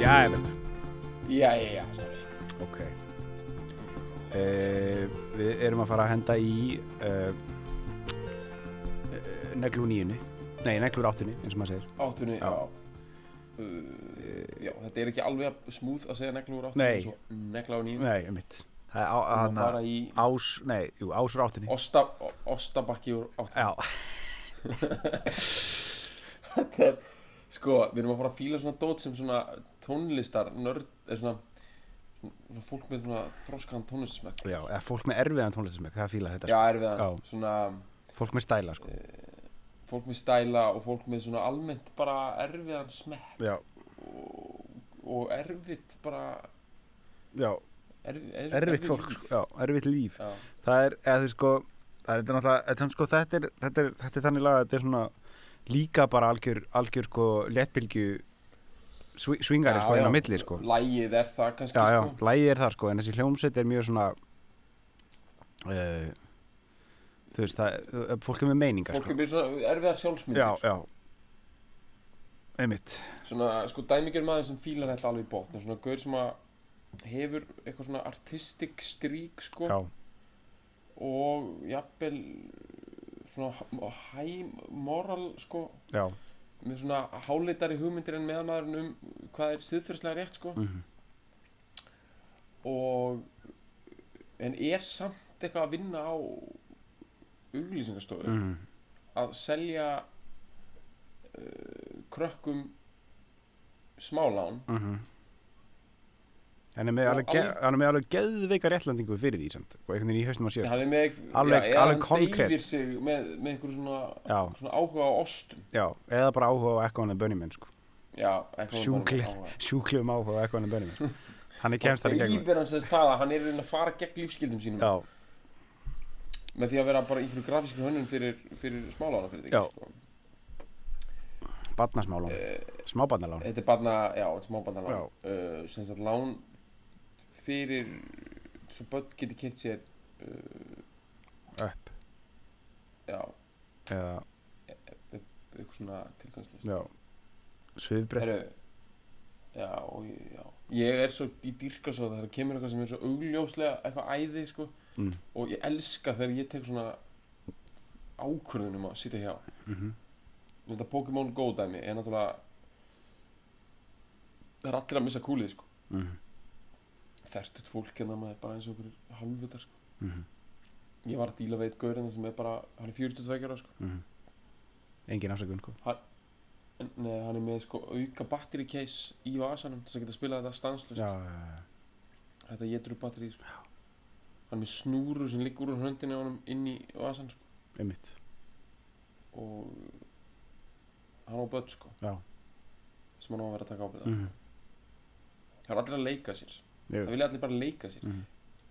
Já, ég veit. Já, já, já, stóri. Ok. Uh, við erum að fara að henda í uh, uh, neglur nýjunni. Nei, neglur áttunni, eins og maður segir. Áttunni, Já. já. Uh, já, þetta er ekki alveg smúð að segja negla úr áttunni. Nei. eins og Negla á nýjum. Nei, um mitt. Það er á, Það hana, fara í ás, nei, jú, ásur áttunni. osta, ostabakki úr áttunni. Já, Þetta er, sko, við erum að fara að fíla svona dót sem svona tónlistar, nörd, eða svona, svona fólk með svona þroskaðan tónlistsmekk. já, eða fólk með erfiðan tónlistismekk, það fílar þetta. Já, erfiðan, Já. svona sko. Fólk með stæla, sko. fólk með stæla og fólk með svona almennt bara erfiðan smekk Já, og, og erfitt bara, já, erf, erf, erfitt fólk, líf. sko. Já, erfitt líf. Já, það er, eða þú sko það er þetta er náttúrulega, þetta er, sko, þetta er, þetta er, þetta er þannig laga, þetta er svona líka bara algjör, algjör sko léttbylgju svi- svingari Já, sko, inn á já. milli sko Lægið er það kannski, já, já, sko. lægi er það sko, en þessi hljómsveit er mjög svona uh, þú veist, það eh, fólk er með meiningar Fólk sko er með svona erfiðar sjálfsmyndir. já, já einmitt, svona, sko, dæmigjör maður sem fílar þetta alveg í botn svona gaur sem að hefur eitthvað svona artistic strík sko, já, og jafnvel svona h- hæm moral sko, já með svona hálitari hugmyndir en meðanmaðurinn um hvað er siðferðslega rétt sko. mhm, og en er samt eitthvað að vinna á auglýsingastofu mhm, að selja uh, krökkum smálán mhm Hann er með Og alveg, ge al- hann er með alveg geðveika réttlandingu fyrir því samt og einhvern veginn í haustum að sér. hann er með Alveg- já, eða alveg hann konkret. deyfir sig með, með einhverju svona, Já, svona áhuga á ostum Já, eða bara áhuga á Echo and the Bunnymen sko. já, eitthvað hann Sjúkleg. bara með áhuga. Sjúklegum áhuga á Echo and the Bunnymen sko. Hann er kemst Þá þar í gegnum deyfir hann sem það að hann er að reyna að fara gegn lífskildum sínum Já, með því að vera bara einhverju grafískur hönnun fyrir, fyrir smálána fyrir Já. sko. barnasmálán, Eh, smábarnalán þetta er barna, já, Já. þetta er smábandalán uh, sem sagt lán fyrir svo börn geti keft sér uh, Upp, já, eða, eitthvað svona tilgangslist já Sviðbrett, Heru, já, og ég- já, ég er svo í dýrka svo þegar kemur eitthvað sem er svo augljóslega eitthvað æði sko, mm. og ég elska þegar ég tek svona ákvörðunum að sitja hjá mm þetta Pokémon Go dæmi er náttúrulega það er allir að missa kúlið sko. mm fertut fólk en það maður er bara eins og einhverjir halvvitar sko. -hmm. ég var að díla við eitt gaurinn sem er bara hann er 42 ára sko. mhm. Engin afsökun sko en, nei, hann er með sko, auka batteri case í vasanum þess að geta spilað þetta stanslust Já, já, já. Þetta getur upp batterið sko. Hann er með snúru sem liggur úr höndinni á honum inn í vasan sko. einmitt og hann á börn sko, Já, sem hann á að vera að taka ábyrða mhm, Það er allir að leika sér Jú. Það vilja allir bara leika sér mhm,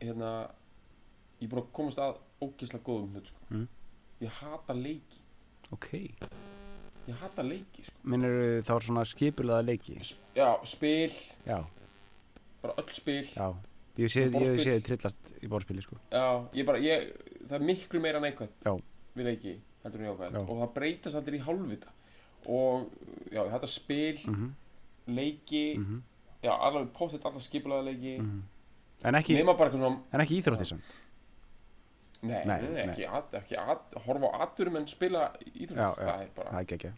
hérna, Ég er búin að komast að ógeðslega góðum hlut sko. Mhm. Ég hata leiki ok Ég hata leiki sko. Minnur þá er svona skipulaða leiki S Já, spil, Já, bara öll spil Já, já Ég sé, ég Borðspil. sé þið trillast í borðspili sko ég bara, ég, það er miklu meira neikvætt Já. við leiki heldur en jákvætt Já. og það breytast allir í hálfvita og já, ég hata spil Mhm, leiki, mhm, já, alveg pottet alla skipulaða leiki, mhm En ekki, nema bara eitthvað svona en ekki íþróttir samt Nei, nei, nei, nei, nei. ekki, at, ekki at, horfa á atturum en spila íþrótt, Já, já. það er bara Það er ekki ekki,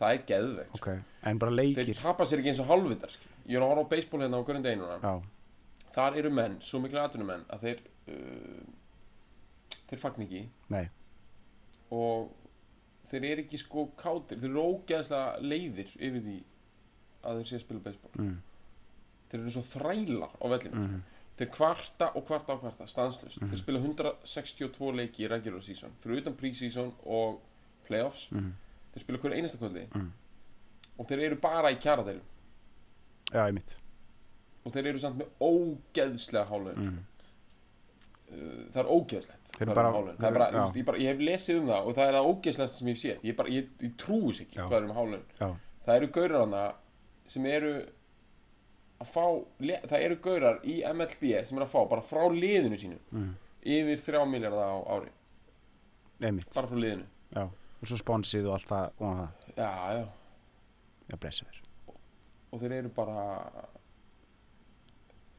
það er geðvegt, ok En bara sko. leikir þeir tapa sér ekki eins og hálfvitar skil. ég er að horfa á beisból hérna á hverjum deginuna Já, þar eru menn, svo miklu atturum menn að þeir uh, þeir fagn ekki Nei. og þeir eru ekki sko kátir, þeir eru ógeðslega leiðir yfir því að þeir sé að spila beisból mm, þeir eru svo þrælar á vellinu mm, Þeir kvarta og kvarta og kvarta, stanslust. Þeir spila 162 leiki í regular season, fyrir utan pre-season og playoffs. Mhm. Þeir spila hverju einasta kvöldi Mhm. og þeir eru bara í kjaradeilum já, ég mitt og þeir eru samt með ógeðslega hálaun. Mhm. Uh, það er ógeðslegt. Þeir eru hvað bara- um hálaun. þeir Það er bara, eru- þú já. veist, ég, bara, ég hef lesið um það og það er það ógeðslegast sem ég hef séð. Ég, bara, ég, ég trúis ekki Já. hvað er um hálaun. já, það eru gaurar hana sem eru að fá, le- það eru gaurar í MLB sem eru að fá bara frá liðinu sínu Mhm. yfir 3 miljardar á ári ég mitt bara frá liðinu já. og svo sponsið og allt það og það, já, já. já, blessa þér og þeir eru bara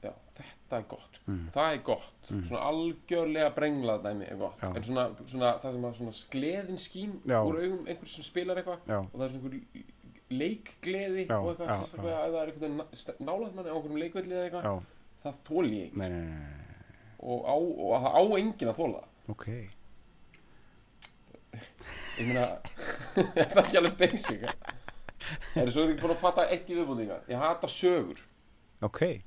já, þetta er gott sko. Mhm. það er gott, svona algjörlega brenglað dæmi er gott Já. en svona, svona það sem að svona skleðin skín Já. úr augum einhvers sem spilar eitthvað já, og það er svona einhver leikgleði Já, og eitthvað já, sérstaklega ef það er einhvern nálaðt manni á einhverjum leikvelli eða eitthvað já, það þól ég ekki sko. nei, nei, nei, nei, nei. og, á, og það á enginn að þóla það. ok ég meina, er það ekki alveg basic er svo er ég búin að fatta eitt í viðbúndinga ég hata sögur, ok,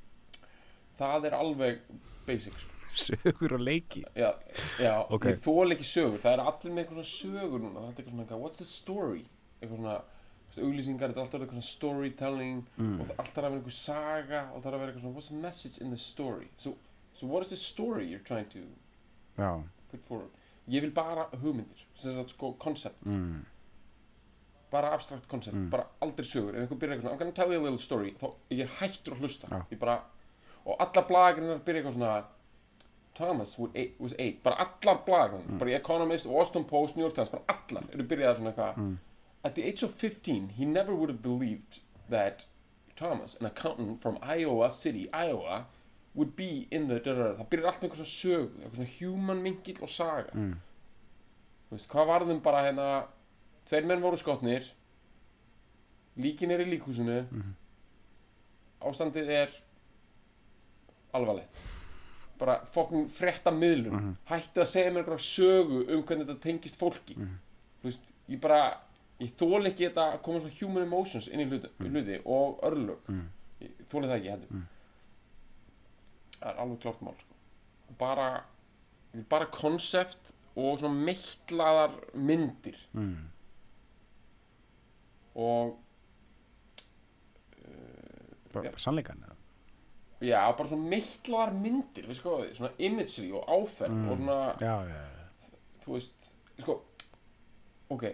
það er alveg basic sko. sögur og leiki já, já Ok. ég þóla ekki sögur, það er allir með eitthvað svona sögur núna, það er alltaf eitthvað svona eitthvað, what's the story eitthvað svona þú veist, auglýsingar, þetta er alltaf eitthvað svona storytelling og það alltaf að vera einhver saga og það er að vera eitthvað svona, what's the message in the story so, so what is the story you're trying to já, put forward ég vil bara hugmyndir, sem sagt sko concept mm. bara abstrakt koncept, bara aldrei sögur ef einhver byrjar eitthvað svona, I'm gonna tell you a little story þá ég er hættur að hlusta Já. ég bara, og allar blagrinnar byrja eitthvað svona Thomas was eight, was eight. bara allar blagrinnar, Mm. bara Economist, Washington Post, New York Times, bara allar eru byrjaðar svona eitthvað Mm. at the age of 15 he never would have believed that Thomas, an accountant from Iowa City, Iowa would be in the da, da, da. það byrjar allt með eitthvað svona sög eitthvað svona human mingill og saga Mm. þú veist, hvað varðum bara hérna tveir menn voru skotnir líkin er í líkhúsinu ástandið er alvarlegt bara fokkin frétta miðlum hættu að segja mér einhverja sögu um hvernig þetta tengist fólki þú veist, ég bara ég þóli ekki þetta að koma svona human emotions inn í hluti, hluti og örlög ég þóli það ekki heldur það er alveg klárt mál sko. bara ég vil bara konsept og svona meittlaðar myndir Mm. og bara Já. yeah. sannleikan eða? já, bara svona meittlaðar myndir við sko, svona imagery og áferð og svona, já, já, já, þú veist sko, ok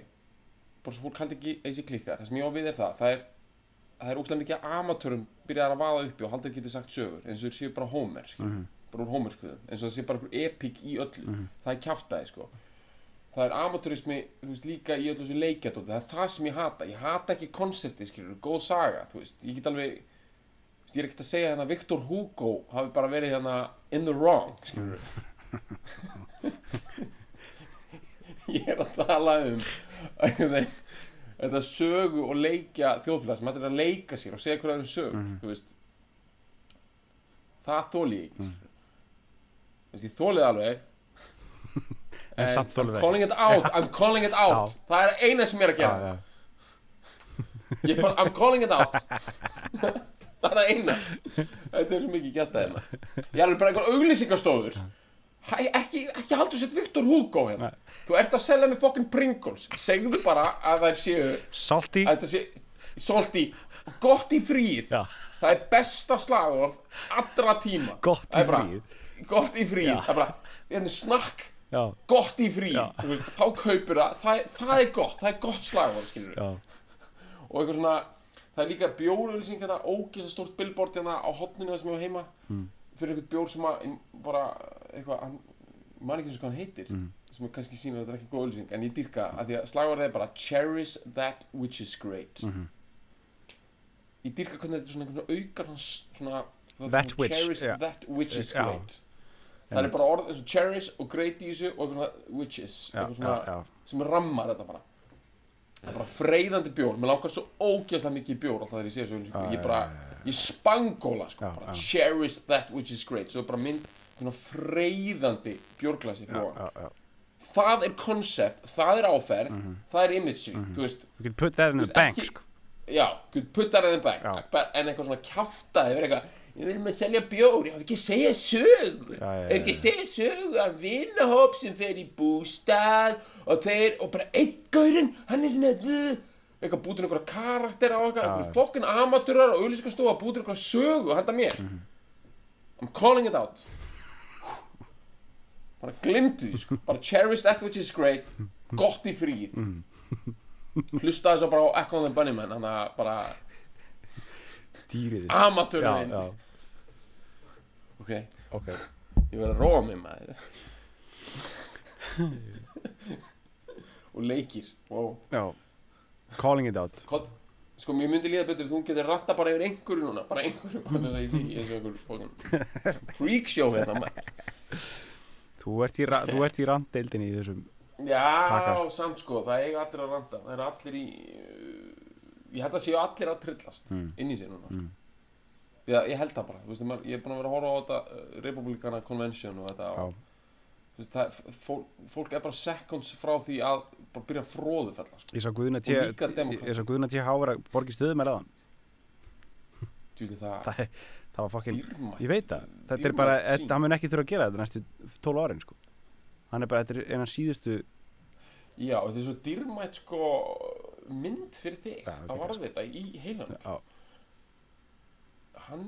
bara svo fólk haldi ekki þessi klikkar það sem ég á við er það, það er það er ógstlega mikið að amatörum byrjar að vaða uppi og haldir geti sagt sögur eins og þeir séu bara Homer skilur, bara úr Homerskuðum, eins og það sé bara einhver epík í öllu, það er kjaftaði sko það er amatörismi, þú veist, líka í öllu þessu leikjatóti, það er það sem ég hata ég hata ekki konseptið, skilur, góð saga þú veist, ég get alveg þú veist, ég er ekkert að segja hérna að Victor Hugo hafi bara verið hérna in the wrong skilur ég er að tala um einhvern veginn, þetta sögu og leikja þjóðfélag sem hættir að leika sér og segja hverja þeirra sög Mhm. þú veist það þóli ég ekki Mhm. mm. þú veist, ég þólið alveg En samt þolirðu I'm ekki. calling it out, I'm calling it out Já. það er eina sem ég er að já, gera já. Ég bara, I'm calling it out Það er það eina Þetta er svo mikið gæta hérna Ég er alveg bara eitthvað auglýsingastofur Hæ, ekki, ekki haldur sett Viktor Hugo hérna Þú ert að selja mig fokkin Pringles Segðu bara að það séu að salty þetta sé Solti, gott í fríð Já. Það er besta slagorð allra tíma Gott í Það er bara, fríið. Gott í fríð Það er bara, hérna snakk já, Gott í fríð Já. Þú veist, Þá kaupir það, það Það er gott, það er gott slagorð skilur já, og eitthvað svona það er líka bjórauðlýsing hérna ógeðsa stórt billboard hérna á hotninu sem ég var heima Hmm. fyrir eitthvað bjór sem að ég bara eitthvað hann, ég man ekki eins og hvað hann heitir Hmm. sem kannski sýnir að þetta er ekki góð auðlýsing en ég dýrka að því að slagvarðið er bara cherish that which is great Hmm. ég dýrka hvernig þetta er svona einhvern veginn aukar svona, svona það er That svona which, cherish já. that which is Já. great það er Einmitt. bara orð eins og cherish og great í þessu og eitthvað svona witches já, eitthvað já, svona já. sem rammar þetta bara það er bara freyðandi bjór mér langar svo ógeðslega mikið í bjór alltaf þegar ég sé þessu auglýsingu. Ah, Já, ég bara, ég spangóla sko, Já, bara, já. cherish that which is great svo er bara mynd svona freyðandi bjórglasi frá Já, hann já, já. það er koncept, það er áferð Mhm. það er image, þú veist you can put that in the veist, bank ekki- sko. já, good, put that in the bag Já. Bara- en eitthvað svona kjaftaði verið eitthvað við erum að selja bjór, ég hef ekki að segja sögur Já, já, já, Ef ekki að segja sögur af vinnahóp sem fer í bústað og þeir, og bara einn gaurinn, hann er svona "Ugh." eitthvað bútur einhverja karakter á eitthvað, einhverja fokkin amatúrar og auðlýsingastofa bútur einhverja sögu handa mér Mhm. I'm calling it out bara glimtu því sko bara cherish that which is great gott í fríð hlusta þess að bara á Echo and the Bunnymen hann að bara dýrið amatörinn já, ok, ég ok verð að róa mig maður og leikir wow. já. calling it out Kod, sko mér myndi líða betur ef þú getur ratta bara yfir einhverju núna bara einhverju, hvað þess að ég sé ég sé einhverju fókin freak show hérna maður þú ert í, ra- þú ert í randdeildinni í þessum Já, Pakkar. samt sko, það eiga allir að randa Það eru allir í uh, Ég held að séu allir að trillast inn í sér núna mm. Já, ég held það bara þú veist, maður, Ég er búin að vera að horfa á þetta uh, Republicana Convention og þetta og, þú veist, það, fólk, fólk er bara seconds frá því að bara byrja að fróðu fella sko. ég sá Guðuna T. Og líka demókrata. ég sá Guðuna T. Hávar að borgi stöðum með aðan Tjúli, það, það, er- það var fokkin dýrmætt ég veit það þetta er dýrmæt bara sýn. þetta, hann mun ekki þurfa að gera þetta næstu 12 árin sko hann er bara þetta er einan síðustu Já, þetta er svo dýrmætt sko mynd fyrir þig Já, að geggjað, varða þetta í heilan á, hann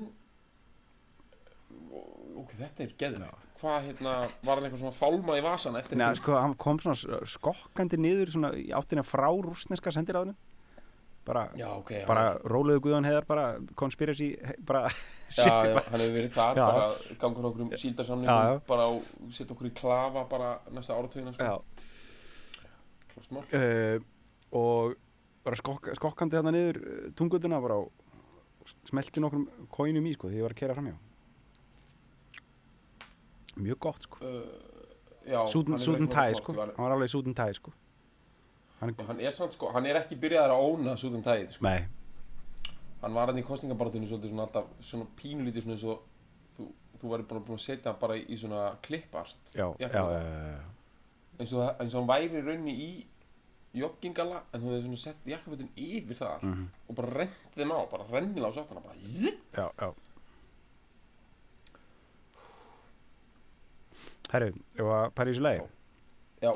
ok, þetta er geðvægt hvað hérna, var hann eitthvað svona fálma í vasan eftir neða einhver- sko hann kom svona s- skokkandi niður svona í áttina frá rúsneska sendiráðinu bara já, ok, hann- bara róluðu Guðan Heiðar bara conspiracy he- bara já, shit já, bara, hann hefur verið þar Já. bara gangur okkur um Já, já. síldarsamningum bara og setja okkur í klafa bara næsta áratugina sko, já, klart mál uh, og bara skokk, skokkandi þarna niður uh, tungutuna bara og smelti nokkrum kóinum í sko því ég var að kera framhjá mjög gott sko Uh, já, hann Súten, hefur súten eitthvað klart, tæ sko, ég var- hann var alveg súten tæ sko hann, Já, hann er samt sko, hann er ekki byrjaðar að óna sútum tæðið sko, nei, hann var hann í kostningabaratunni svolítið svona alltaf svona pínulítið svona eins og þú, þú væri bara búin að setja hann bara í svona klippart já, já, Jakob. já, já, já. eins og, eins og hann væri í rauninni í joggingala en þú hefði svona sett jakkafötin yfir það allt Mhm. og bara rennt þeim á, bara rennilás aftan bara zitt, já, já. herru, ég var að pæla í þessu lagi já,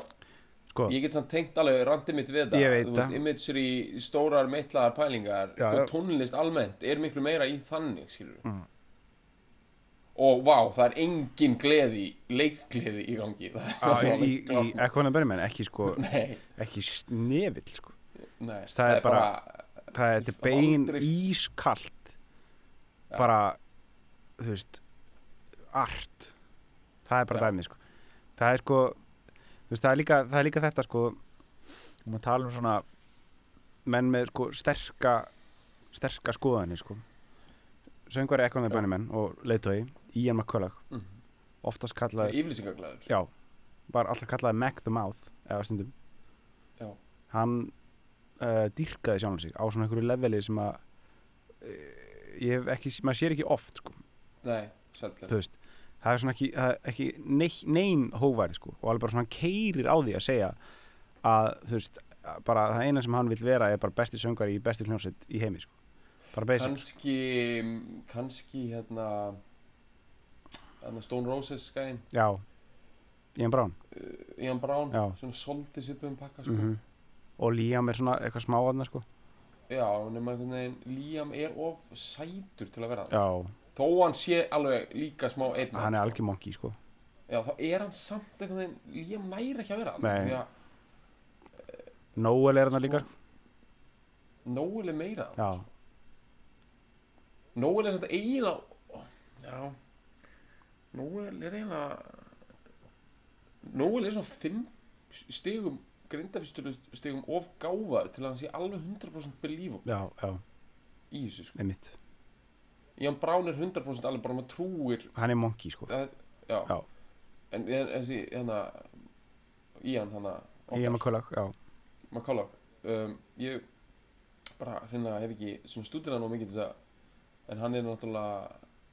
sko, ég get samt tengt alveg randi mitt við það, Ég veit þú það. veist, imagery, stórar meitlaðar pælingar, Já, Mm. sko, já. tónlist almennt er miklu meira í þannig, skilur og vá, það er engin gleði, leikgleði í gangi, það er á, alveg í, í klárt. ekkonan börjumenn ekki sko, nei, ekki snefill sko nei, Það er bara- það er þetta Ég er bein aldrei- ískalt Já. bara þú veist art það er bara Já. dæmið sko það er sko þú veist, það, er líka, það er líka þetta sko um að tala um svona menn með sko sterka sterka skoðanir sko söngvari ekkonið Já. bænimenn og leiðtói Ian McCullough Mhm. oftast það kallaði er yfirlýsingaglæður já, var alltaf kallaði Mac the Mouth eða stundum Já. hann uh, dýrkaði sjálfan sig á svona einhverju leveli sem að uh, ég hef ekki, maður sér ekki oft sko, nei, sjálfgleði þú veist það er svona ekki, það er ekki nein, nein hóværi sko, og alveg bara svona hann keirir á því að segja að þú veist að bara það eina sem hann vil vera er bara besti söngari í besti hljónsett í heimi sko bara basic, kannski kannski hérna hérna Stone Roses skæn já Ian Brown Ian Brown, Já. svona soldið svipum pakka sko. mm og Liam er svona eitthvað smáaðna sko já, nema einhvern veginn Liam er of sætur til að vera það já, þó hann sé alveg líka smá einn hann er algjör monki sko já, þá er hann samt einhvern veginn Liam næri ekki að vera það, Nei. því að Noel er hann Sko. líka Noel er meira það. Já, Noel er samt eiginlega já Noel er eiginlega Noel er svona 5 stigum grindafistölu stigum of gáfaður til að hann sé alveg 100% believable já, já, í þessu sko. einmitt Ian Brown er 100% alveg bara maður trúir Hann er monki, sko að, já. Já. en en- þessi hérna Ian hana Ég er með kvölag, já McCulloch um, ég bara hérna hef ekki svona stúdina nú mikið til þess að en hann er náttúrulega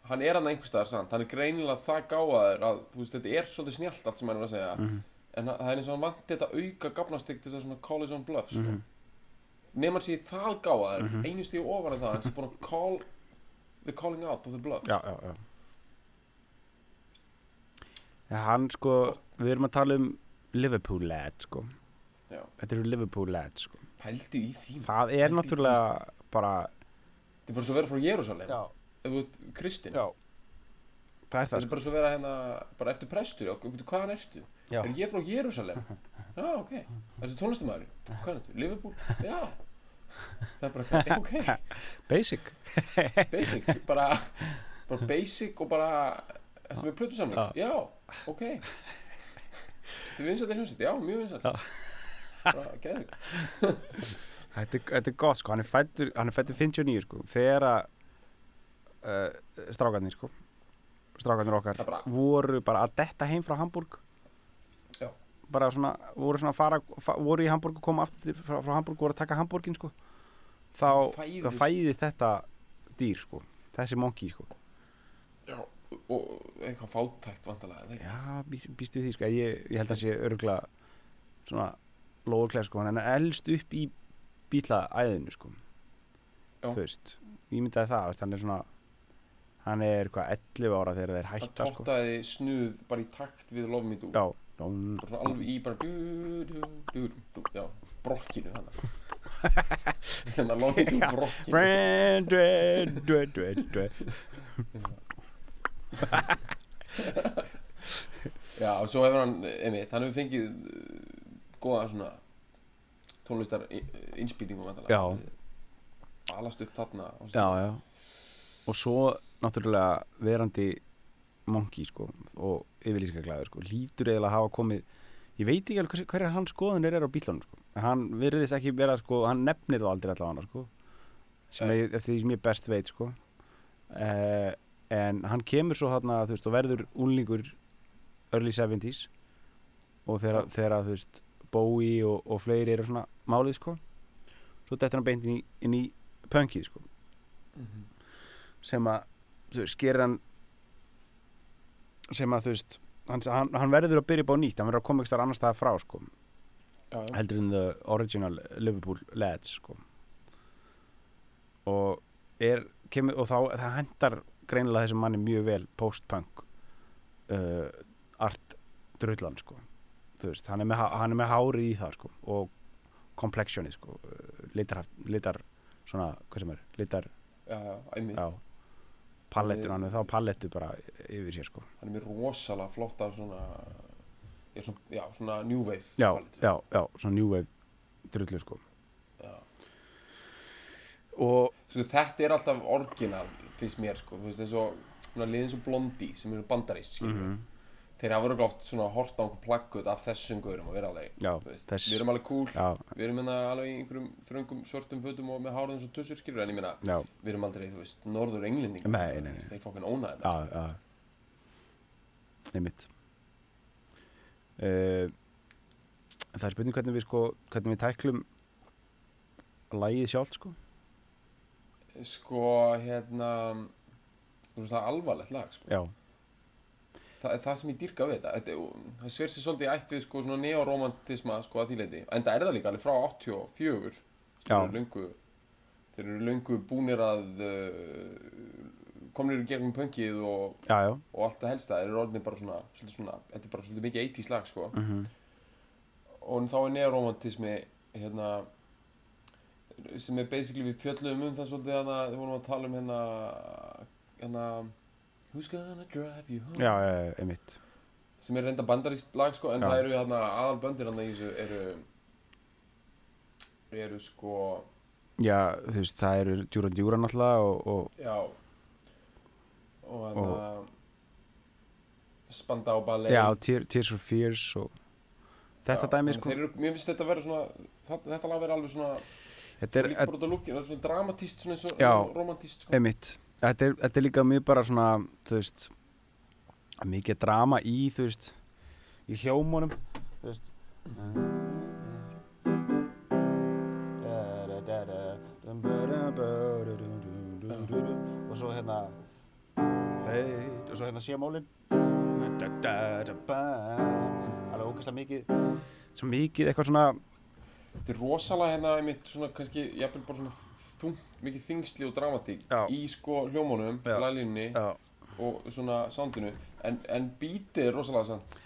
hann er hann einhverstaðar samt, hann er greinilega það gáðaður að þú veist þetta er svolítið snjált allt sem hann er að segja Mhm. en það það er eins og hann vanti þetta auka gafnastig til þess að svona call his own bluff sko. mm Mhm. hann sé það gáðaður, einu stíu ofan en það hann sé búin að call the calling out of the bluff já, já, já. Ja, hann sko, við erum að tala um Liverpool lad sko Já. þetta eru Liverpool lad sko pældi í því maður. það er náttúrulega bara þetta er bara svo að vera frá Jerusalem ef þú ert kristinn já. það er það þetta er sko bara svo að vera hérna bara ertu prestur já, veitu, hvaðan ertu já. er ég frá Jerusalem já ok ertu tónlistamæður hvað er þetta Liverpool já það er bara eitthvað, ok sko. basic basic, bara, bara basic og bara ertu með plötu Já. já, ok ertu vinsætt í hljómsætt, já, mjög vinsætt Já. bara geðvig þetta, er- þetta er gott sko, hann er fættur hann er fættur 59 sko, þegar að uh, strákarnir sko strákarnir okkar Það bara- voru bara að detta heim frá Hamburg Já. bara svona, voru svona að fara fa, voru í Hamburg og koma aftur til, frá, frá Hamburg voru að taka Hamburgin sko þá Það fæðist. það fæði þetta dýr sko, þessi monki sko já, og eitthvað fátækt vandalega það ekki, já, býst, býst við því sko ég, ég held að hann sé örgla svona lóðurklæð sko, hann er elst upp í bílaæðinu sko Já. þú veist, ég myndaði það þú veist, hann er svona hann er hvað 11 ára þegar þeir það hætta sko tóttaði snuð bara í takt við Love Me Do já, dón, bara svona alveg í bara du, du, du, du, já, brokkinu þannig hérna Love Me Do Já. brokkinu Brand, dread, dread, dread, dread. já, og svo hefur hann, einmitt, hann hefur fengið uh, góða svona tónlistar uh, innspýtingum Já. um alast upp þarna og já, já og svo náttúrulega verandi monki sko og yfirlýska glæður sko, lítur eiginlega að hafa komið ég veit ekki alveg hverja hans skoðunir er á bílunum sko, en hann virðist ekki vera sko, hann nefnir það aldrei allavega sko sem Nei. ég, eftir því sem ég best veit sko uh, en hann kemur svo þarna þú veist og verður unlingur early 70s og þegar, þegar þú veist Bowie og, og fleiri eru svona málið sko svo dettur hann beint inn í, inn í punkið sko Mhm. sem að þú veist, gerir hann sem að þú veist hann, hann, hann verður að byrja upp á nýtt hann verður að koma ekki starf annars staðar frá sko já, já. heldur en the original Liverpool lads sko og er kemur, og þá það hendar greinilega þessum manni mjög vel post-punk uh, art drullan sko þú veist, hann er með, há- hann er með hárið í það sko og komplexionið sko uh, litar, litar svona, hvað sem er, litar já, já, einmitt já, pallettur, hann er þá pallettu bara yfir sér sko hann er mér rosalega flotta svona já, svona, já, svona new wave já, palette. já, já, svona new wave drullu sko Já. og Svo, þetta er alltaf orginal finnst mér sko, þú veist eins og svona liðin svo blondi sem eru bandarist mm -hmm. Mhm. þeir hafa verið oft svona hort á einhver plaggut af þessum gaurum og vera alveg já, þú veist, þess við erum alveg cool, já, við erum hérna alveg í einhverjum þröngum svörtum fötum og með hárið eins og tussur skilur en ég meina, já, við erum aldrei, þú veist, norður englending Nei, nei, nei. þeir fokkin óna þetta já, já einmitt uh, það er spurning hvernig við sko hvernig við tæklum lægið sjálft sko sko, hérna þú veist, það er alvarlegt lag sko. já, það, það sem ég dýrka við þetta, þetta er- það sver sér svolítið í ætt við sko, svona neoromantisma sko, að því leiti, en það er það líka alveg frá 84 þeir Já. eru löngu þeir eru löngu búnir að uh, komnir í gegnum pöngið og, já, já og allt það helsta þeir eru orðinir bara svona, svolítið svona þetta er bara svolítið mikið 80 slag sko. mm og þá er neoromantismi hérna sem er basically við fjöllum um það svolítið hana, við vorum að tala um hérna hérna Who's gonna drive you home já, já, já, einmitt sem er reynda bandarist lag sko, en Já. það eru hérna aðalböndir hérna í þessu eru eru sko já, þú veist, það eru djúran djúran náttúrulega og, og já og hérna Spandau Ballet Já, Tear- Tears for Fears og þetta dæmi þannig sko þeir eru, mér finnst þetta vera svona það, þetta lag vera alveg svona þetta er, líka þetta- brota lúkin, svona dramatist svona eins og Já. romantist sko. einmitt, þetta er, þetta er líka mjög bara svona þú veist mikið drama í þú veist í hljómunum þú veist og svo hérna feit, og svo hérna sémólin alveg ógæslega mikið svo mikið eitthvað svona þetta er rosalega hérna einmitt svona kannski, jafnvel bara svona þung, mikið þingsli og dramatík Já. í sko hljómunum, Já. lælínunni Já. og svona soundinu en, en bítið er rosalega sant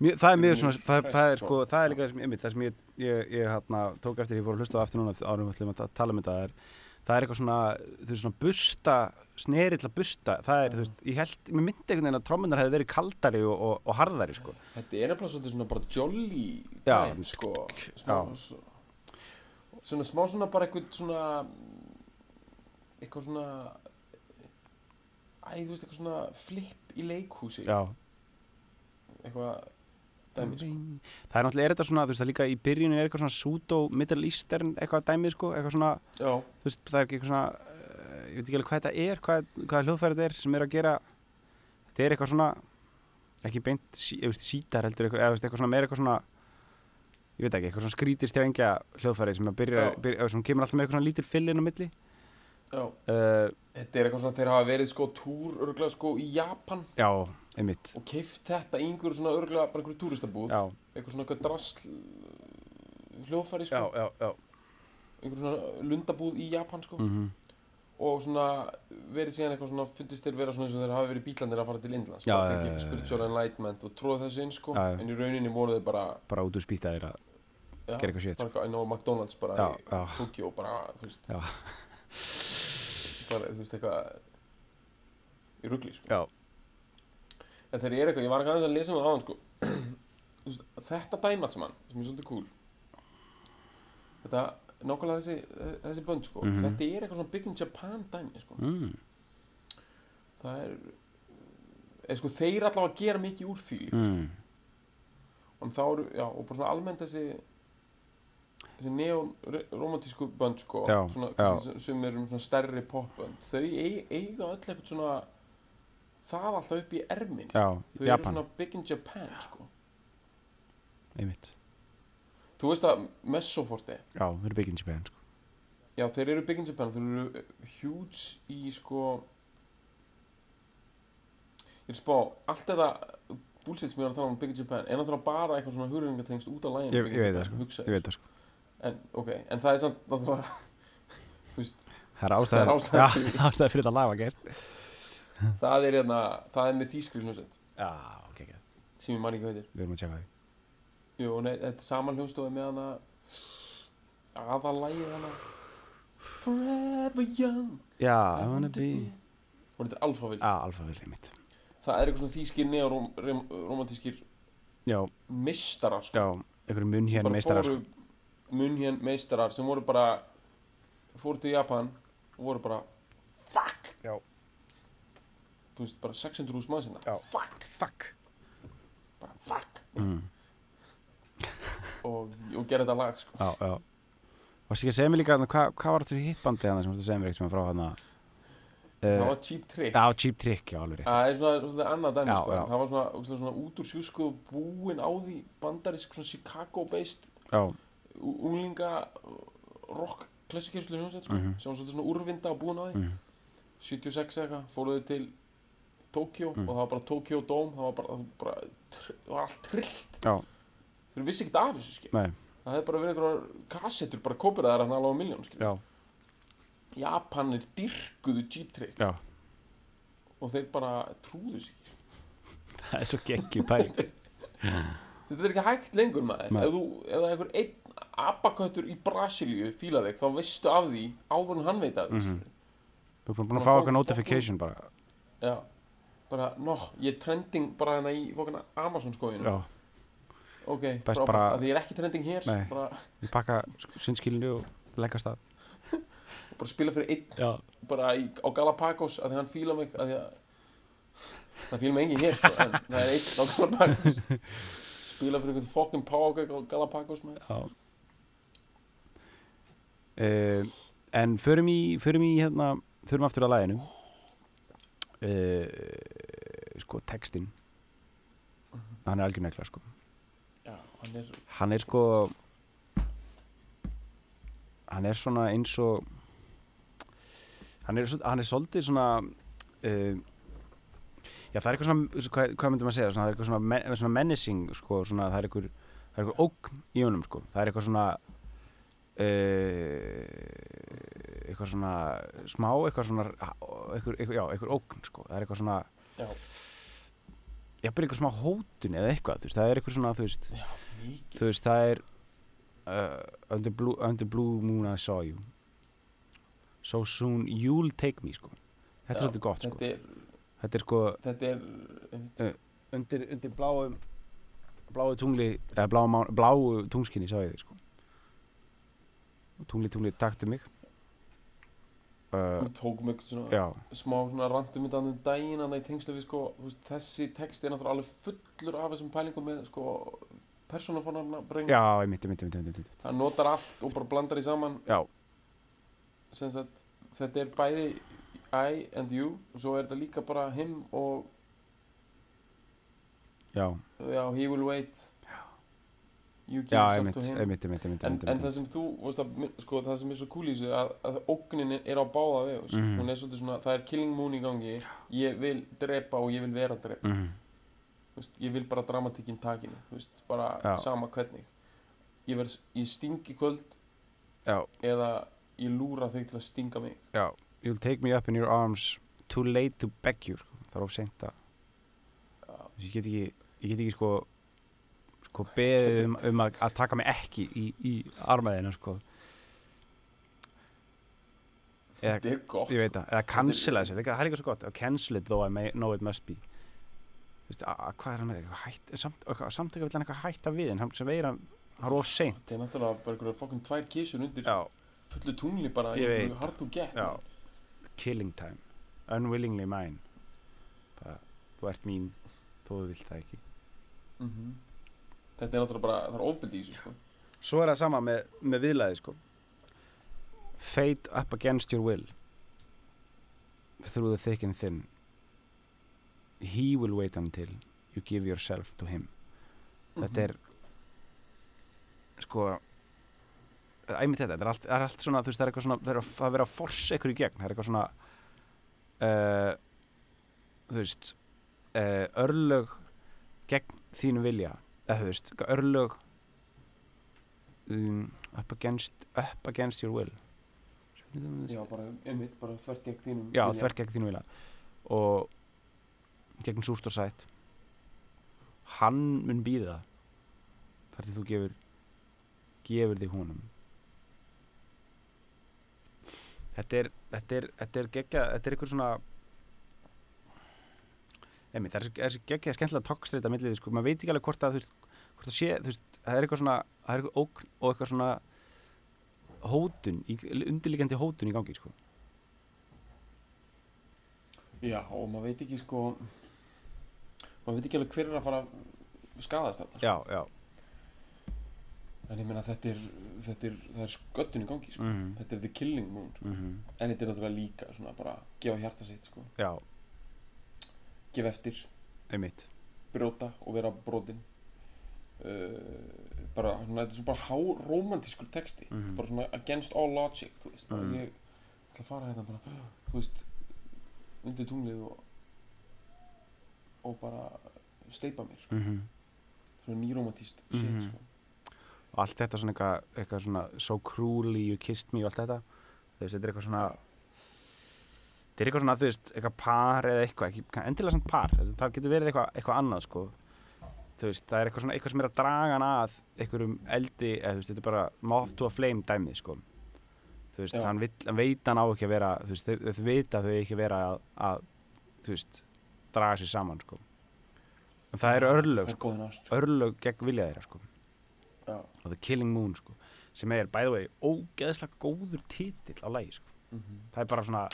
Mjö, það er mjög Mjög svona, það, hress, það er sko. sko, það er líka það sem, einmitt, það sem ég, ég, ég hana, tók eftir, ég fór að hlusta á aftur núna árum við ætlum að ta- tala um þetta, það er, það er eitthvað svona, þú veist, svona busta, sneri til að busta, það er, þú veist, ég held, mér myndi einhvern veginn að trómmunar hefði verið kaldari og, og, og harðari, sko. þetta er nefnilega svolítið svona bara jolly Já. time sko smá, Já. svo- svona smá svona bara eitthvað svona eitthvað svona æ, þú veist, eitthvað svona flip í leikhúsi Já. eitthvað dæmi sko. Það er náttúrulega, er þetta svona, þú veist, það líka í byrjunum er eitthvað svona pseudo-middle eastern eitthvað dæmið, sko, eitthvað svona, já, þú veist, það er ekki eitthvað svona, eh, ég veit ekki alveg hvað þetta er, hvað, hvað hljóðfæri þetta er sem er að gera, þetta er eitthvað svona, ekki beint, sí, ég veist, sítar heldur, eitthvað, eða þú veist, eitthvað svona, meira eitthvað svona, ég veit ekki, eitthvað svona skrítir strengja hljóðfæri sem að byrja, Já. byrja sem kemur alltaf með eitthvað svona lítil fyll inn á milli. já Uh, þetta er eitthvað svona þeir hafa verið sko túr örgulega sko í Japan já, einmitt, og keift þetta í einhverju svona örgulega bara einhverju túristabúð já, eitthvað svona eitthvað drasl hljóðfæri sko já, já, já. einhver svona lundabúð í Japan sko Mm og svona verið síðan eitthvað svona fundist þeir vera svona eins og þeir hafi verið bílandir að fara til Indlands Já, já, já, bara fengið já, spiritual enlightenment og tróð þessu inn sko Já, já. en í rauninni voru þeir bara bara út úr spýtaðir að, já, Gera eitthvað shit, sko. bara eitthvað inn á McDonalds bara Já, í já. Tokyo og bara þú veist Já. bara þú veist eitthvað í ruggli sko já, en þeir eru eitthvað ég var ekki aðeins að lesa um það áðan sko Þú veist, þetta dæmat sem hann sem er svolítið cool þetta nákvæmlega þessi þessi bönd sko Mhm. þetta er eitthvað svona Big in Japan dæmi sko mm, það er eða sko þeir allavega gera mikið úr því mm. mm, og þá eru, já, og bara svona almennt þessi þessi neon-romantísku bönd sko, Já, svona, já. kannski sem eru um svona stærri popbönd, þau eig- eiga öll eitthvað svona það alltaf upp í ermin, já, þau eru Japan, svona big in Japan sko, einmitt, þú veist að Messoforte, já, þau eru bygginn Japan, sko, já þeir eru big in Japan þeir eru eh, huge í sko ég er að spá, allt þetta bullshit sem ég var að tala um big in Japan er náttúrulega bara eitthvað svona hugrenningatengst út af læginu Ég- ég veit það, sko. hugsa, ég veit það, sko, En, ok, en það er samt náttúrulega, þú veist, það er Það er ástæða, ástæða já, fyrir því. ástæða fyrir þetta laga, geir, það er hérna, það er með þýskri hljómsveit, já, ok, ok, sem ég man ekki hvað heitir. við erum að tjekka því. Jú, nei, þetta er saman hljómsstofi með hana, aðalægið hana, Forever Young, Já, I I wanna want to be be. hún heitir Alphaville. Já, alfavel mitt Það er eitthvað svona þýskir neoromantískir Já, meistarar, sko. já, einhverjum munn sem hérna bara meistarar sko. fóru, munhjön meistarar, sem voru bara, fóru til Japan og voru bara, fuck, Já, þú veist, bara 600 hús maður sinna, Já. hérna. fuck, fuck bara fuck, mm. og, og gera þetta lag, sko. Já, já Varst ekki að segja mér líka, þarna, hvað hva var þetta fyrir hitbandið hann sem varst að segja mér eitthvað frá hann Það uh, var Cheap Trick Já, Cheap Trick, já, alveg rétt Það er svona, svona annað dæmi Já, sko, já. en það var svona, ógeðslega svona út úr sjúsku búin á því bandarisk svona Chicago-based Já, ú- unglinga uh, rock klassikjörslu hljómsveit sko, Mhm. sem var svolítið svona úrvinda og búin á því, mm. 76 eða eitthvað, fóruðu til Tokjó Mhm. og það var bara Tokjó Dome, það var bara, það var, bara, tr- það var allt trillt, já, þeir vissi ekkert af þessu skil, nei, það hefði bara verið einhverjar kassettur, bara kópiraðar hann alveg á miljón skil, já, Japanir dyrkuðu Jeep Trick já og þeir bara trúðu sig Það er svo geggjum pæling Þú veist, Þetta er ekki hægt lengur maður Nei. ef, þú, ef það er einhver einn abaköttur í Brasilíu fílar þig þá veistu af því áður en hann veit af því mm Mhm. Þú erum búin Bara að fá fólk- eitthvað notification bara Já Bara, nó, ég er trending bara hérna í fokana Amazon skoðinu Já, Ok, Best frábært, bara- af því ég er ekki trending hér Nei. bara, við pakka sundskilinu og leggast af bara spila fyrir einn Já, bara í, á Galapagos af því hann fílar mig af því að það fílar mig engin hér sko, en það er einn á Galapagos Spila fyrir einhvern fokkin págag á Galapagos maður Já uh, En förum í, förum í hérna, förum aftur að læginu uh, sko textin hann er algjör nekla sko Já, hann er hann er sko hann er svona eins og hann er, svo- hann er svolítið svona uh, já það er eitthvað svona hvað, hvað myndum að segja, svona, það er eitthvað svona, men, svona menacing sko, svona, það er eitthvað það er eitthvað ógn í honum sko það er eitthvað svona uh, eitthvað svona smá, eitthvað svona eitthvað, eitthvað, já, eitthvað ógn sko það er eitthvað svona Já. jafnvel eitthvað smá hótun eða eitthvað þú veist, það er eitthvað svona, þú veist Já, mikið þú veist, það er uh, under, blue, under blue moon I saw you so soon you'll take me sko þetta er Já, svolítið gott sko Þetta er, þetta er sko þetta er einmitt, undir, undir bláum bláu tungli eða bláu, mánu- bláu tungskinni sá ég þig sko og tungli tungli takti mig uh, Við tókum eitthvað svona já, smá svona randum þetta um daginn þannig í tengslu við sko þú veist, þessi texti er náttúrulega alveg fullur af þessum pælingum með sko persónafónarna breng já, einmitt, einmitt, einmitt, einmitt, einmitt. hann notar allt og bara blandar í saman já, sem sagt þetta er bæði I and you og svo er þetta líka bara him og já, já, he will wait you give já, yourself einmitt to him einmitt, einmitt, einmitt, en, einmitt, en einmitt. það sem þú veist, að, sko, það sem er svo cool í þessu að, að ógnin er á báða vegus Mhm. hún er svolítið svona, það er killing moon í gangi ég vil drepa og ég vil vera drepa Mhm, Þú veist, ég vil bara dramatíkinn takinu veist, bara Já. sama hvernig ég, verð, ég sting í kvöld já, eða ég lúra þig til að stinga mig já you'll take me up in your arms too late to beg you sko. það er of seint að Já. Þú veist, ég get ekki, ég get ekki sko sko beðið um, um að, að taka mig ekki í, í armaðina sko eða þetta er gott ég veit það, eða cancela þessu líka, það er líka svo gott, oh, cancel it though I may, know it must be Þú veist, a- a- hvað er hann með eitthvað hætt, samt, eitthvað- samtaka vill hann eitthvað hætta við en hann sem veir hann, hann er of sein þetta er náttúrulega bara einhverja fokkum tvær kísur undir já, fullu tungli bara Ég einhverju veit. hard to get já killing time, unwillingly mine bara, þú ert mín þó þú vilt það ekki Mhm. þetta er náttúrulega bara, það er ofbeldi í þessu sko. svo er það sama með, með viðlaði sko fate up against your will through the thick and thin he will wait until you give yourself to him þetta er sko æmið þetta, þetta er allt, það er allt svona þú veist, það er eitthvað svona, það er að, það er verið að forsa ykkur í gegn, það er eitthvað svona uh, þú veist uh, örlög gegn þínu vilja, eða þú veist örlög um, up against up against your will Mhm. já, bara, einmitt, bara þvert gegn þínum já, vilja. þvert gegn þínu vilja og gegn súrt og sætt hann mun býða þar til þú gefur gefur þig honum þetta er þetta er, þetta er geggja, þetta er einhver svona Emi, það er þessi- þessi geggja skemmtilega tókstrita millið, sko, maður veit ekki alveg hvort að þú veist, hvort það sé, þú veist, það er eitthvað svona það er eitthvað ógn og eitthvað svona hótun, í, undirliggjandi hótun í gangi, sko já, og maður veit ekki sko maður veit ekki alveg hver er að fara að skadast þarna sko. já, já en ég meina þetta er, þetta er, það er sköttun í gangi sko. mm þetta er the killing moon sko. -hmm. en þetta er náttúrulega líka svona bara gefa hjarta sitt sko. Já, gefa eftir, einmitt brjóta og vera brotin uh, bara, svona, þetta er svona bara háromantískur texti Mhm. þetta er bara svona against all logic þú veist, bara Mhm. ég ætla að fara hérna bara þú veist, undir tunglið og og bara steipa mér sko. svona nýromantíst shit Mhm. sko. Og allt þetta svona eitthvað, eitthvað svona So cruelly you kissed me og allt þetta Þú veist, þetta er eitthvað svona Þetta er eitthvað svona, þú veist, eitthvað par eða eitthvað, ekki, kann- endilega samt par þú veist, Það getur verið eitthvað, eitthvað annað, sko Þú veist, það er eitthvað svona, eitthvað sem er að draga hann að einhverjum eldi, eða þú veist, þetta er bara moth to a flame dæmið, sko Þú veist, Já. hann, vill, hann veit hann á ekki að vera þú veist, þau, þau vita að þau eigi ekki að vera að, að þú veist, draga sér saman, sko En það eru örlög, það er góðin ást sko. örlög gegn vilja þeirra sko já, og The Killing Moon sko sem er by the way ógeðslega góður titill á lagi sko mm það er bara svona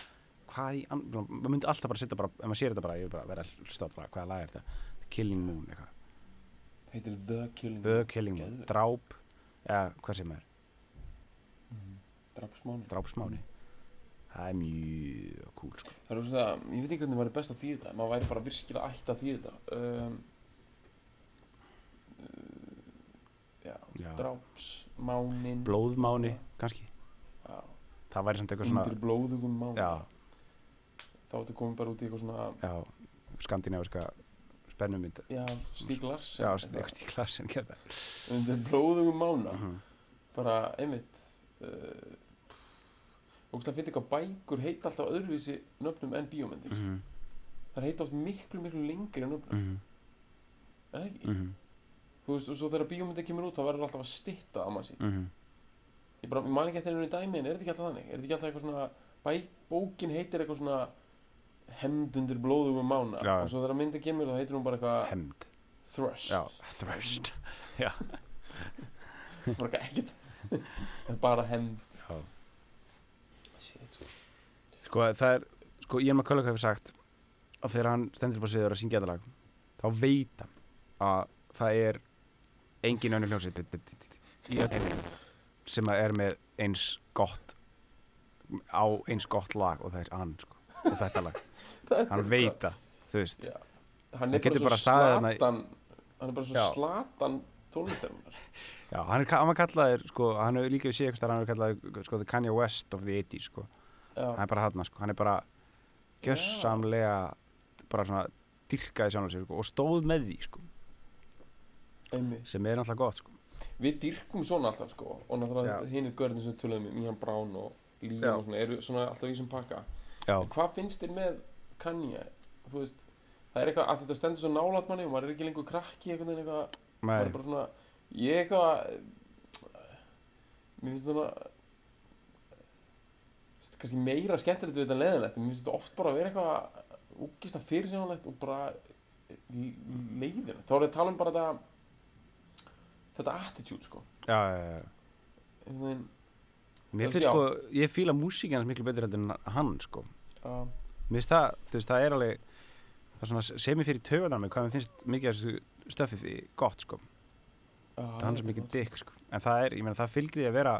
hvað í an... maður myndi alltaf bara setja bara ef maður sér þetta bara ég vil bara vera að hlusta á þetta bara hvaða lag er þetta The Killing Moon eitthvað heitir the killing The moon Killing Moon Mm, Geðveikt. dráp eða hvað sem er Mhm. drapsmáni drápsmáni það er mjög cool sko Það er svona, ég veit ekki hvernig maður er best að þýða þetta, maður væri bara virkilega ætti að þýða þetta. Um, uh, já, Já. drápsmánin, blóðmáni kannski já, það væri samt eitthvað undir svona blóðugum mánin, já þá ertu komið bara út í eitthvað svona, já skandinaviska spennumynd já, stíglars, já eitthvað stíklar sem gerða undir blóðugum mána, Mhm. bara einmitt, uh, ógustlega fyndi hvað bækur heita alltaf öðruvísi nöfnum en bíómyndir mm. Mhm, það heita oft miklu miklu lengri nöfnum mhm, mm. en það ekki mhm, þú veist og svo þegar bíómyndir kemur út þá verður alltaf að stitta að maður sitt mhm. ég bara, ég man ekki eftir einu dæmi en er þetta ekki alltaf þannig er þetta ekki alltaf eitthvað svona bæ, bókin heitir eitthvað svona hemdundir blóðum um mána Já. og svo þegar myndin kemur þá heitir hún bara eitthvað Hemd thrust Já, Thrust bara eitthvað ekkert Það er bara hemd Já. Shit, sko. Sko það er Sko Ian McCulloch hefur sagt að þegar hann stendur bara sviður að syngja þetta lag þá veit hann að það er engin önnur hljómsveit bit- bit- bit- í öll heiminum sem að er með eins gott á eins gott lag og það er hann sko og þetta lag hann veit það þú veist Já. hann er getur bara bara svo staðið þarna í- slatan hann er bara svo Já. slatan tónlistarinnar Já, hann, er, ka- hann var kallaður, sko, hann hefur líka við séð eitthvað, hann hefur kallaður, sko, the Kanye West of the 80s, sko, hann já, er bara þarna, sko, hann er bara gjössamlega, bara svona, dyrkaði sjálfum sér, sko, og stóð með því, sko, einmitt sem er náttúrulega gott, sko. við dyrkum svona alltaf sko og náttúrulega Já. hinn er görðin sem við töluðum um Ian Brown og Já. Liam og svona eru svona alltaf í þessum pakka Já, En hvað finnst þér með Kanye? Þú veist, það er eitthvað að þetta stendur svo nálat manni og maður er ekki lengur krakki einhvern veginn eitthvað, maður með, er bara svona, ég eitthvað, mér finnst þetta svona, þú veist, kannski meira skemmtilegt við þetta en leiðinlegt, en mér finnst þetta oft bara að vera eitthvað úkist að fyrirsjónlegt og bara leiðin. Þá er ég að tala um bara þetta, þetta attitude, sko. já, já, já. Einhvern veginn, Mér finnst, Já. sko, ég fíla músíkinn hans miklu betur heldur en hann, sko. að, Mér finnst það, þú veist, það er alveg, það er svona semi fyrir töðan á mig, hvað mér finnst mikið af þessu stöffi gott, sko. að, hann sem ekki dykk sko. en það er, ég meina það fylgir því að vera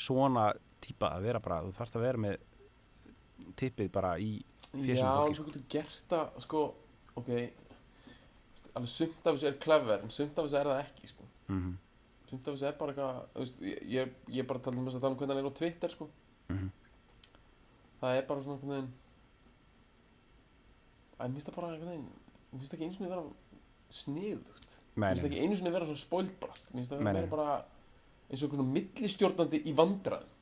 svona típa að vera bara þú þarfst að vera með tippið bara í Já, fésum fólki, sko. en svo getur gert það, sko, ok, alveg sumt af þessu er clever, en sumt af þessu er það ekki, sko. mm -hmm. Sumt af þessu er bara eitthvað, þú veist, ég, ég- ég er bara að tala um þess að tala um hvernig hann er á Twitter, sko. Mhm. Það er bara svona einhvern veginn, að mér finnst það bara einhvern veginn, mér finnst það ekki einu sinni vera sniðugt. Mér finnst það ekki einu sinni vera svona spoilbrætt, mér finnst það Nei, vera nei. meira bara eins og einhvern svona millistjórnandi í vandræðum.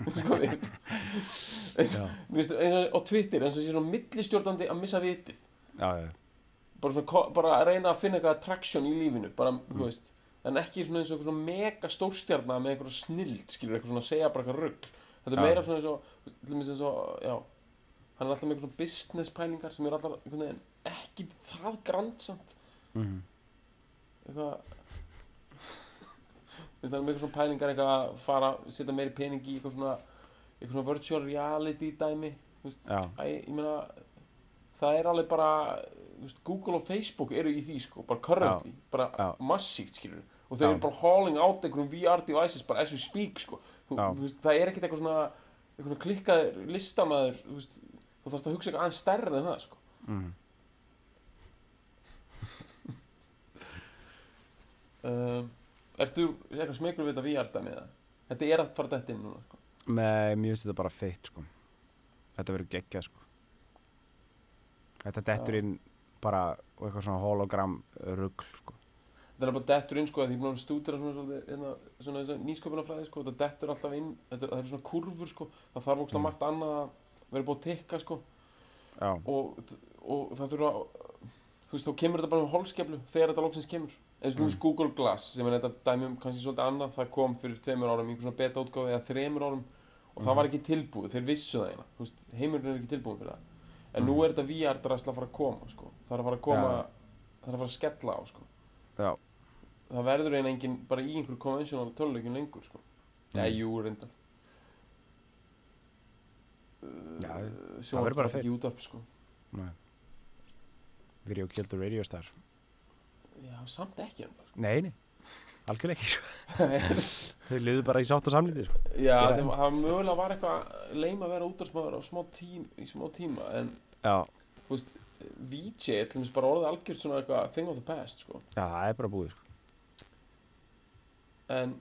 sko, ég- eins og Mér finnst eins og á Twitter eins og sé svona millistjórnandi að missa vitið já, já, bara svona ko- bara að reyna að finna eitthvað attraction í lífinu bara, þú veist en ekki svona eins og eitthvað svona mega stórstjarna með einhverja snild skilur eitthvað svona að segja bara eitthvað rugg þetta er Já. meira svona eins og þú veist, til dæmis eins og, já hann er alltaf með eitthvað svona business pælingar sem er alltaf einhvern veginn ekki það grandsamt mm -hmm. eitthvað Þú veist, það er með eitthvað svona pælingar eitthvað að fara, setja meiri pening í eitthvað svona eitthvað svona virtual reality dæmi þú veist já, Æ, ég meina, það er alveg bara, þú veist, Google og Facebook eru í því, sko, bara currently, bara Já. massíft, skilur og þau Já. eru bara hauling out einhverjum VR devices, bara as we speak, sko, þú, Já. þú veist, það er ekkert eitthvað svona, eitthvað svona klikkaður listamaður, þú veist, þú þarfst að hugsa eitthvað aðeins stærra en það, sko. mm -hmm. Um, ertu eitthvað smekur við þetta VR dæmi eða? Þetta er að fara dætt inn núna, sko. með mjög finnst þetta bara feitt sko. þetta verður geggjað sko. þetta dettur Já. inn bara og eitthvað svona hologram rugl sko. Þetta er bara dettur inn, sko, því ég búin að stúdera svona, svona, svona, svona, svona nýsköpunarfræði, sko, þetta dettur alltaf inn, þetta, það eru svona kurfur, sko, það þarf ógst Mm. margt annað að vera búið að tikka, sko, já, og, og það þurfa, að- þú veist, þá kemur þetta bara með holskeflu þegar þetta loksins kemur. Eins og þú Mm. veist Google Glass, sem er þetta dæmi um kannski svolítið annað, það kom fyrir tveimur árum, í einhver svona beta útgáfi eða þremur árum, og Mm. það var ekki tilbúið, þeir vissu það eina, þú veist, heimurinn er ekki tilbúið fyrir það. En nú er þetta VR-drasla að fara að koma, sko, það er að fara að koma, Mm. Já. það er að fara að skella á, sko já, það verður einn enginn bara í einhver konvensjónal töluleikin lengur sko. Já, Mm. jú, reyndar Já, Sjónvarp- verður bara fyrr. Útvarp, sko. næ Video Killed the Radio Star Já, samt ekki nefnilega, Nei, nei, algjörlega ekki sko. sko. Þau liðu bara í sátt og samlítið sko. Já, Ég- þeim, það mögulega var eitthvað leim að vera útvarsmaður á smá tíma, í smá tíma en Já, þú veist, VJ er til dæmis bara orðið algjört svona eitthvað thing of the past sko. já, það er bara búið sko. en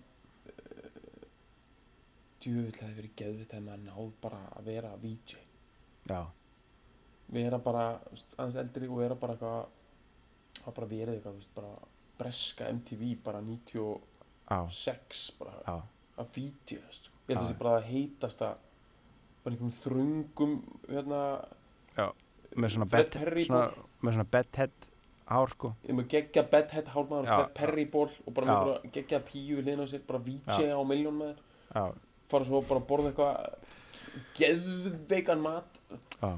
djúvill hefði verið geðvitt að maður náð bara að vera VJ Já, vera bara þú veist, aðeins eldri og vera bara eitthvað hafa bara verið eitthvað, þú veist, bara breska MTV bara 96 já, bara já að vídeo sko. ég Já. held að það sé bara að heitast að bara einhverjum þröngum hérna, með svona Fred bed, Perry svona, með svona bedhead hár sko ég með geggja bedhead hálmaður og Já, Fred já. Perry ból og bara Já. með einhverja geggja píu liðin á sér, bara vídeo á miljón með þér já, fara svo bara að borða eitthvað geðveikan mat já,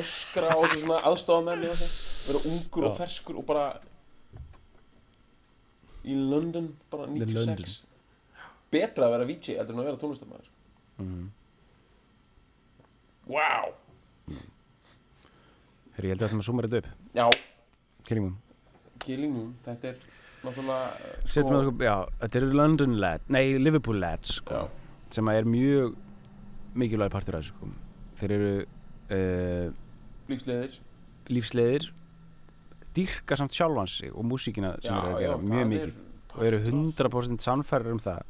öskra á þetta svona aðstofa með mér vera ungur og Já. ferskur og bara í London bara The 96 London. betra að vera VJ heldur en að vera sko. tónlistamæður mhm. wow Herri, ég held að það maður sumar þetta upp já, kynningum Killing Moon, þetta er náttúrulega uh, setjum við okkur, já, þetta eru London lads nei, Liverpool lads sko já, sem að er mjög mikilvæg partur af þessu sko. þeir eru uh, lífsleðir lífsleðir dýrka samt sjálfan sig og músíkina sem já, þeir eru að já, gera mjög mikið og eru 100% sannfærir um það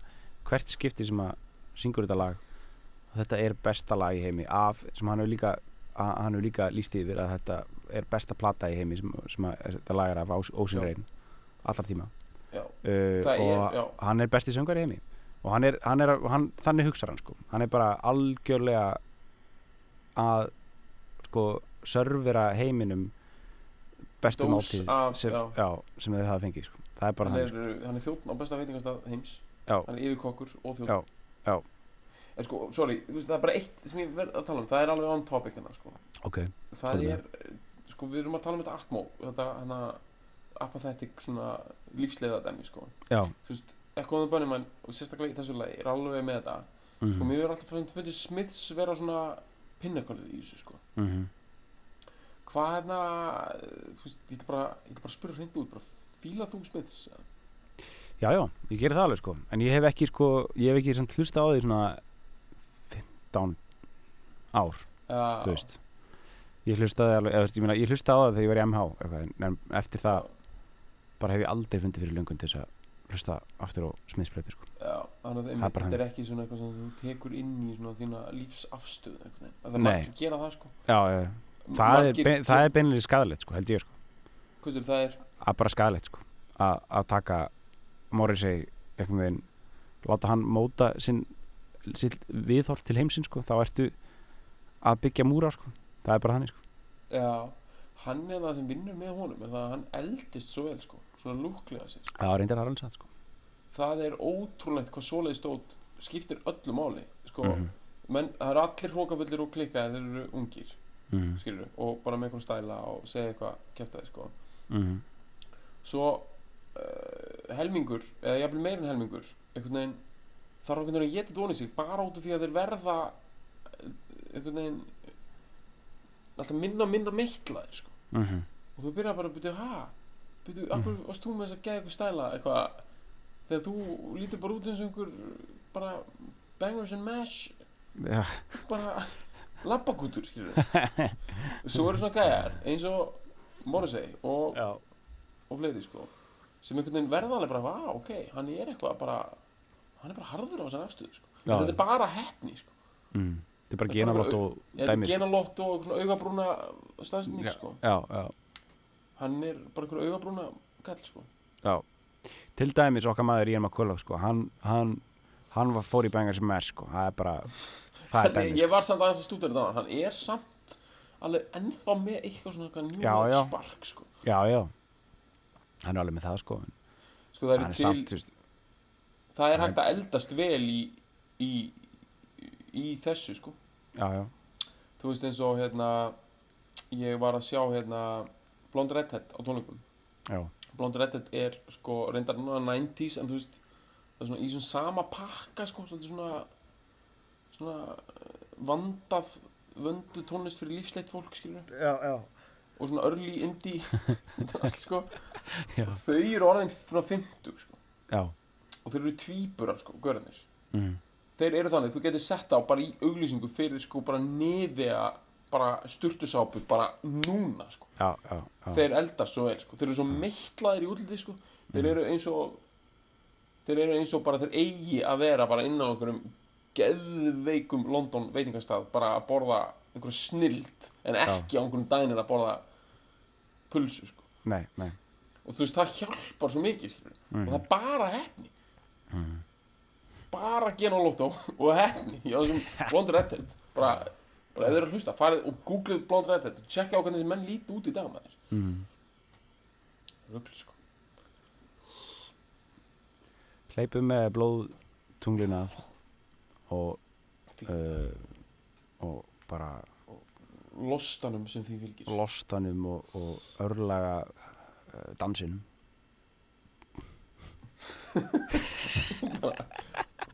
hvert skipti sem að syngur þetta lag og þetta er besta lag í heimi af, sem hann hefur líka að, hann hefur líka líst yfir að þetta er besta plata í heimi sem, sem að, þetta lag er af ósynrein allar tíma já, uh, Það er- og já. hann er besti söngar í heimi og hann er, hann er, hann, þannig hugsar hann sko hann er bara algjörlega að sko sörfira heiminum bestu Dós máltíð af- sem, já. sem þau hafa fengið sko. það er bara hann hann, er, hann er þjóttn á besta veitingastað heims Já. hann er yfirkokkur og þjóttn Já, já. en sko, sorry, þú veist, það er bara eitt sem ég verð að tala um, það er alveg on topic hérna sko. sko. ok, það Tölum. er, sko, við erum að tala um þetta atmo, þetta hana apathetic svona lífsleiða dæmi sko. já þú veist, Echo and the Bunnyman og sérstaklega í þessu lagi er alveg með þetta mm sko, mér verður alltaf fundið fundið Smiths vera svona pinnakölið í þessu sko. Mhm. hvað er það þú veist, ég ætla bara, ég ætla bara að spyrja hreint út bara, fíla þú Smiths? já, já, ég gerir það alveg sko en ég hef ekki sko, ég hef ekki samt hlusta á því svona 15 ár, Já, þú veist ég hlustaði alveg, eða, þú veist, ég, meina, ég hlustaði á það þegar ég var í MH eitthvað, en- en eftir það bara hef ég aldrei fundið fyrir löngun til þess að hlusta aftur á smiðsplötu sko. Já, Það þannig að er einmitt, bara þetta er ekki svona eitthvað sem þú tekur inn í svona þína lífsafstöðu einhvern veginn. Það er Nei. margir gera það sko. já, já, já. það, er, Margir- bein, það er beinlega skadalegt sko, held ég sko. Hvað sem það er, að bara skadalegt sko. að að taka Morrissey einhvern veginn láta hann móta sinn, sitt viðhorf til heimsinn sko. þá ertu að byggja múra sko. það er bara þannig sko. já, hann er það sem vinnur með honum, er það að hann eldist svo vel sko, svona lúklega sér. já, reyndar aðra hans að sko. Það er ótrúlegt hvað svoleiði stótt skiptir öllu máli, sko. Mhm, Menn, það eru allir hrókafullir og klikkaðir, þeir eru ungir, mhm, skilur, og bara með einhvern stæla og segja eitthvað, kæfta þið sko. mhm, svo uh, helmingur eða jafnvel meir en helmingur einhvern veginn þarf einhvern veginn að geta dóni sig bara út af því að þeir verða eh, einhvern veginn eh, alltaf minna minna meittlaðir sko. mhm. og þú byrjar bara að byrja ha byrju, af hverju varst þú með þess að geða eitthvað stæla eitthvað þegar þú lítur bara út eins og einhver bara bangers and mash Já, bara labbakútur skilur svo eru svona gæjar eins og Morrissey og já. og fleiri sko sem einhvern veginn verða alveg bara, vá, ok, hann er eitthvað bara, hann er bara harður á þessar afstöðu sko. en Já, þetta já. er bara heppni sko. Mm. þetta er bara Þetta er bara genarlótt og þetta er dæmið sko. genalott og svona augabrúna staðsending sko. já, já hann er bara einhver augabrúna kall sko. Já, til dæmis okkar maður Ian McCullough sko, hann, hann, hann var fór í bengar sem er sko, það er bara, það er sko. hann, dæmis. ég var samt aðeins að stúta þetta hann er samt alveg ennþá með eitthvað svona eitthvað Já, njúlega já. spark sko. Já, já, hann er alveg með það sko, en Sko, það, hann er er til, samt, þú veist, það er hægt að eldast vel í, í, í þessu sko. já, já, þú veist eins og hérna ég var að sjá hérna Blond Redhead á tónleikum já, Blond Redhead er sko reyndar núna 90s en þú veist það er svona í svona sama pakka sko svolítið svona svona eh, vandað vöndu tónlist fyrir lífsleitt fólk skilur já, já. og svona early indie drasl, sko. Já. og þau eru orðin frá 50 sko Já, og þau eru tvíburar sko, görðanir mm, þeir eru þannig, þú getur sett á bara í auglýsingu fyrir sko bara nefja bara sturtusápu bara núna sko já, já, já, Mm. þeir eldast svo vel sko. þeir eru svo meittlaðir í útliti sko. þeir eru eins og þeir eru eins og bara þeir eigi að vera bara inn á einhverjum geðveikum London veitingastað bara að borða einhverja snild en ekki á einhverjum dænir að borða pulsu sko. nei, nei, og þú veist það hjálpar svo mikið mm. og það er bara hefni bara gen og lotó og hefni hjá þessum blond redhead bara, bara ef þeir eru að hlusta, farið og googlið blond redhead og tjekkja á hvernig þessi menn líti út í dag maður mm. röfl sko Hleypum með blóðtunglina og, Fínt. uh, og bara lostanum sem því fylgir lostanum og, og örlaga uh, dansinum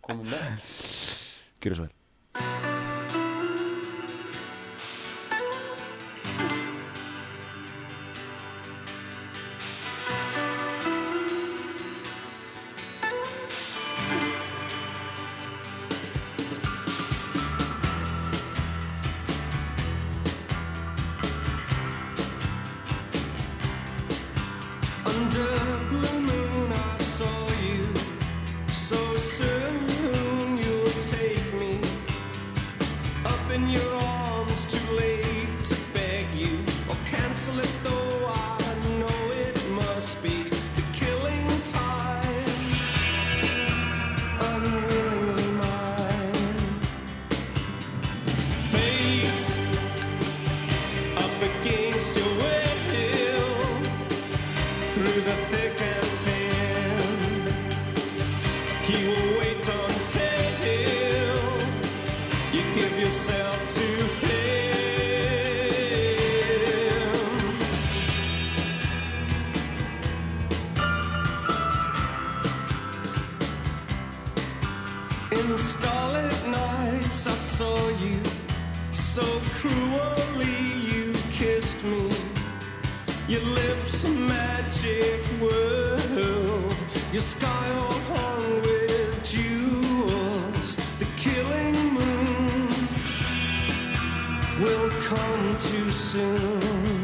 komum með Gjör svo vel Under blue moon, I saw you. So soon you'll take me up in your arms. Too late to beg you or cancel it, though I know it must be the killing time. Unwillingly mine. Fate up against your will through the thick and thin. He will wait until you give yourself to him. In starlit nights, I saw you. So cruelly, you kissed me. Your lips a magic world. Your sky all hung with jewels. The killing moon will come too soon.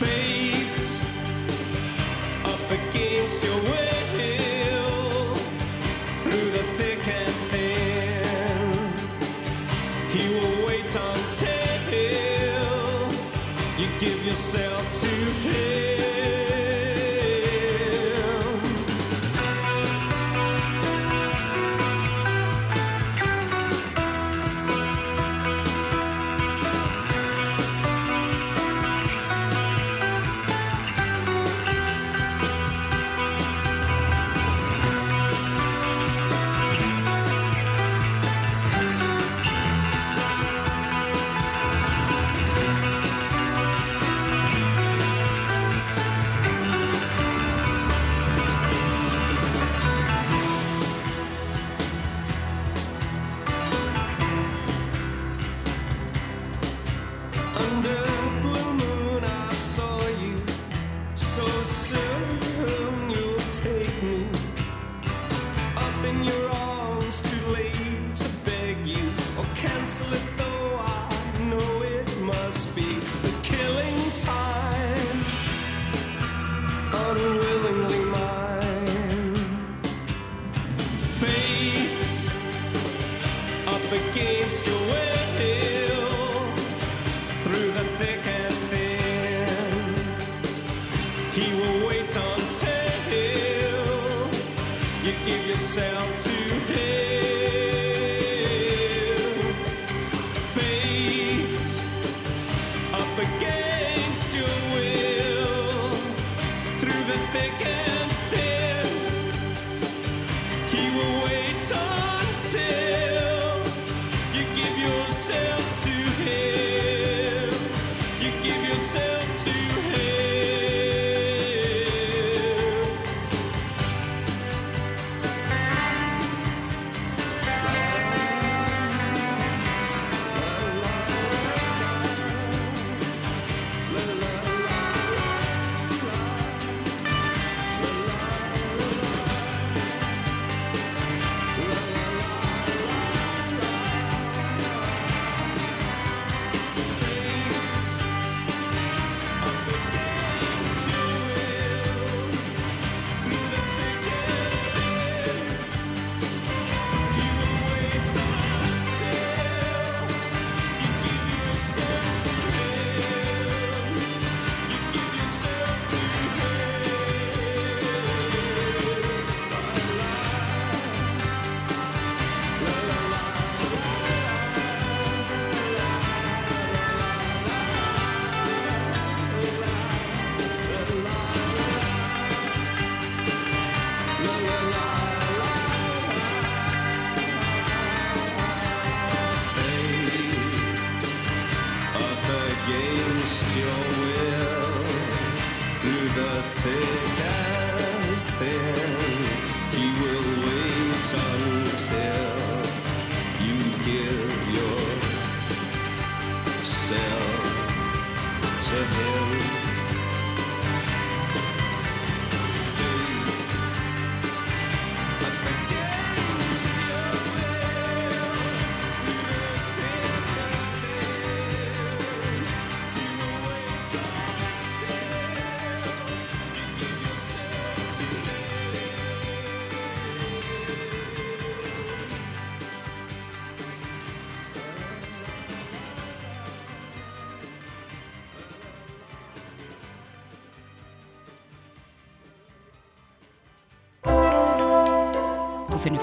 Fate up against your will. Through the thick and thin, he will wait until you give yourself to him. Under blue moon, I saw you. So soon you'll take me up in your arms. Too late to beg you or cancel it, though I know it must be the killing time. Unwillingly mine. Fate up against your will through the thick and thin. He will wait until you give yourself to him. Fate up against your will through the thick and thin. He will wait until. You give yourself to him. You give yourself to him. Hleypum thick and thin. He will wait until you give yourself to him. Fate, but against your will, through the thick and thin, he will wait until you give yourself to him. Þú finnir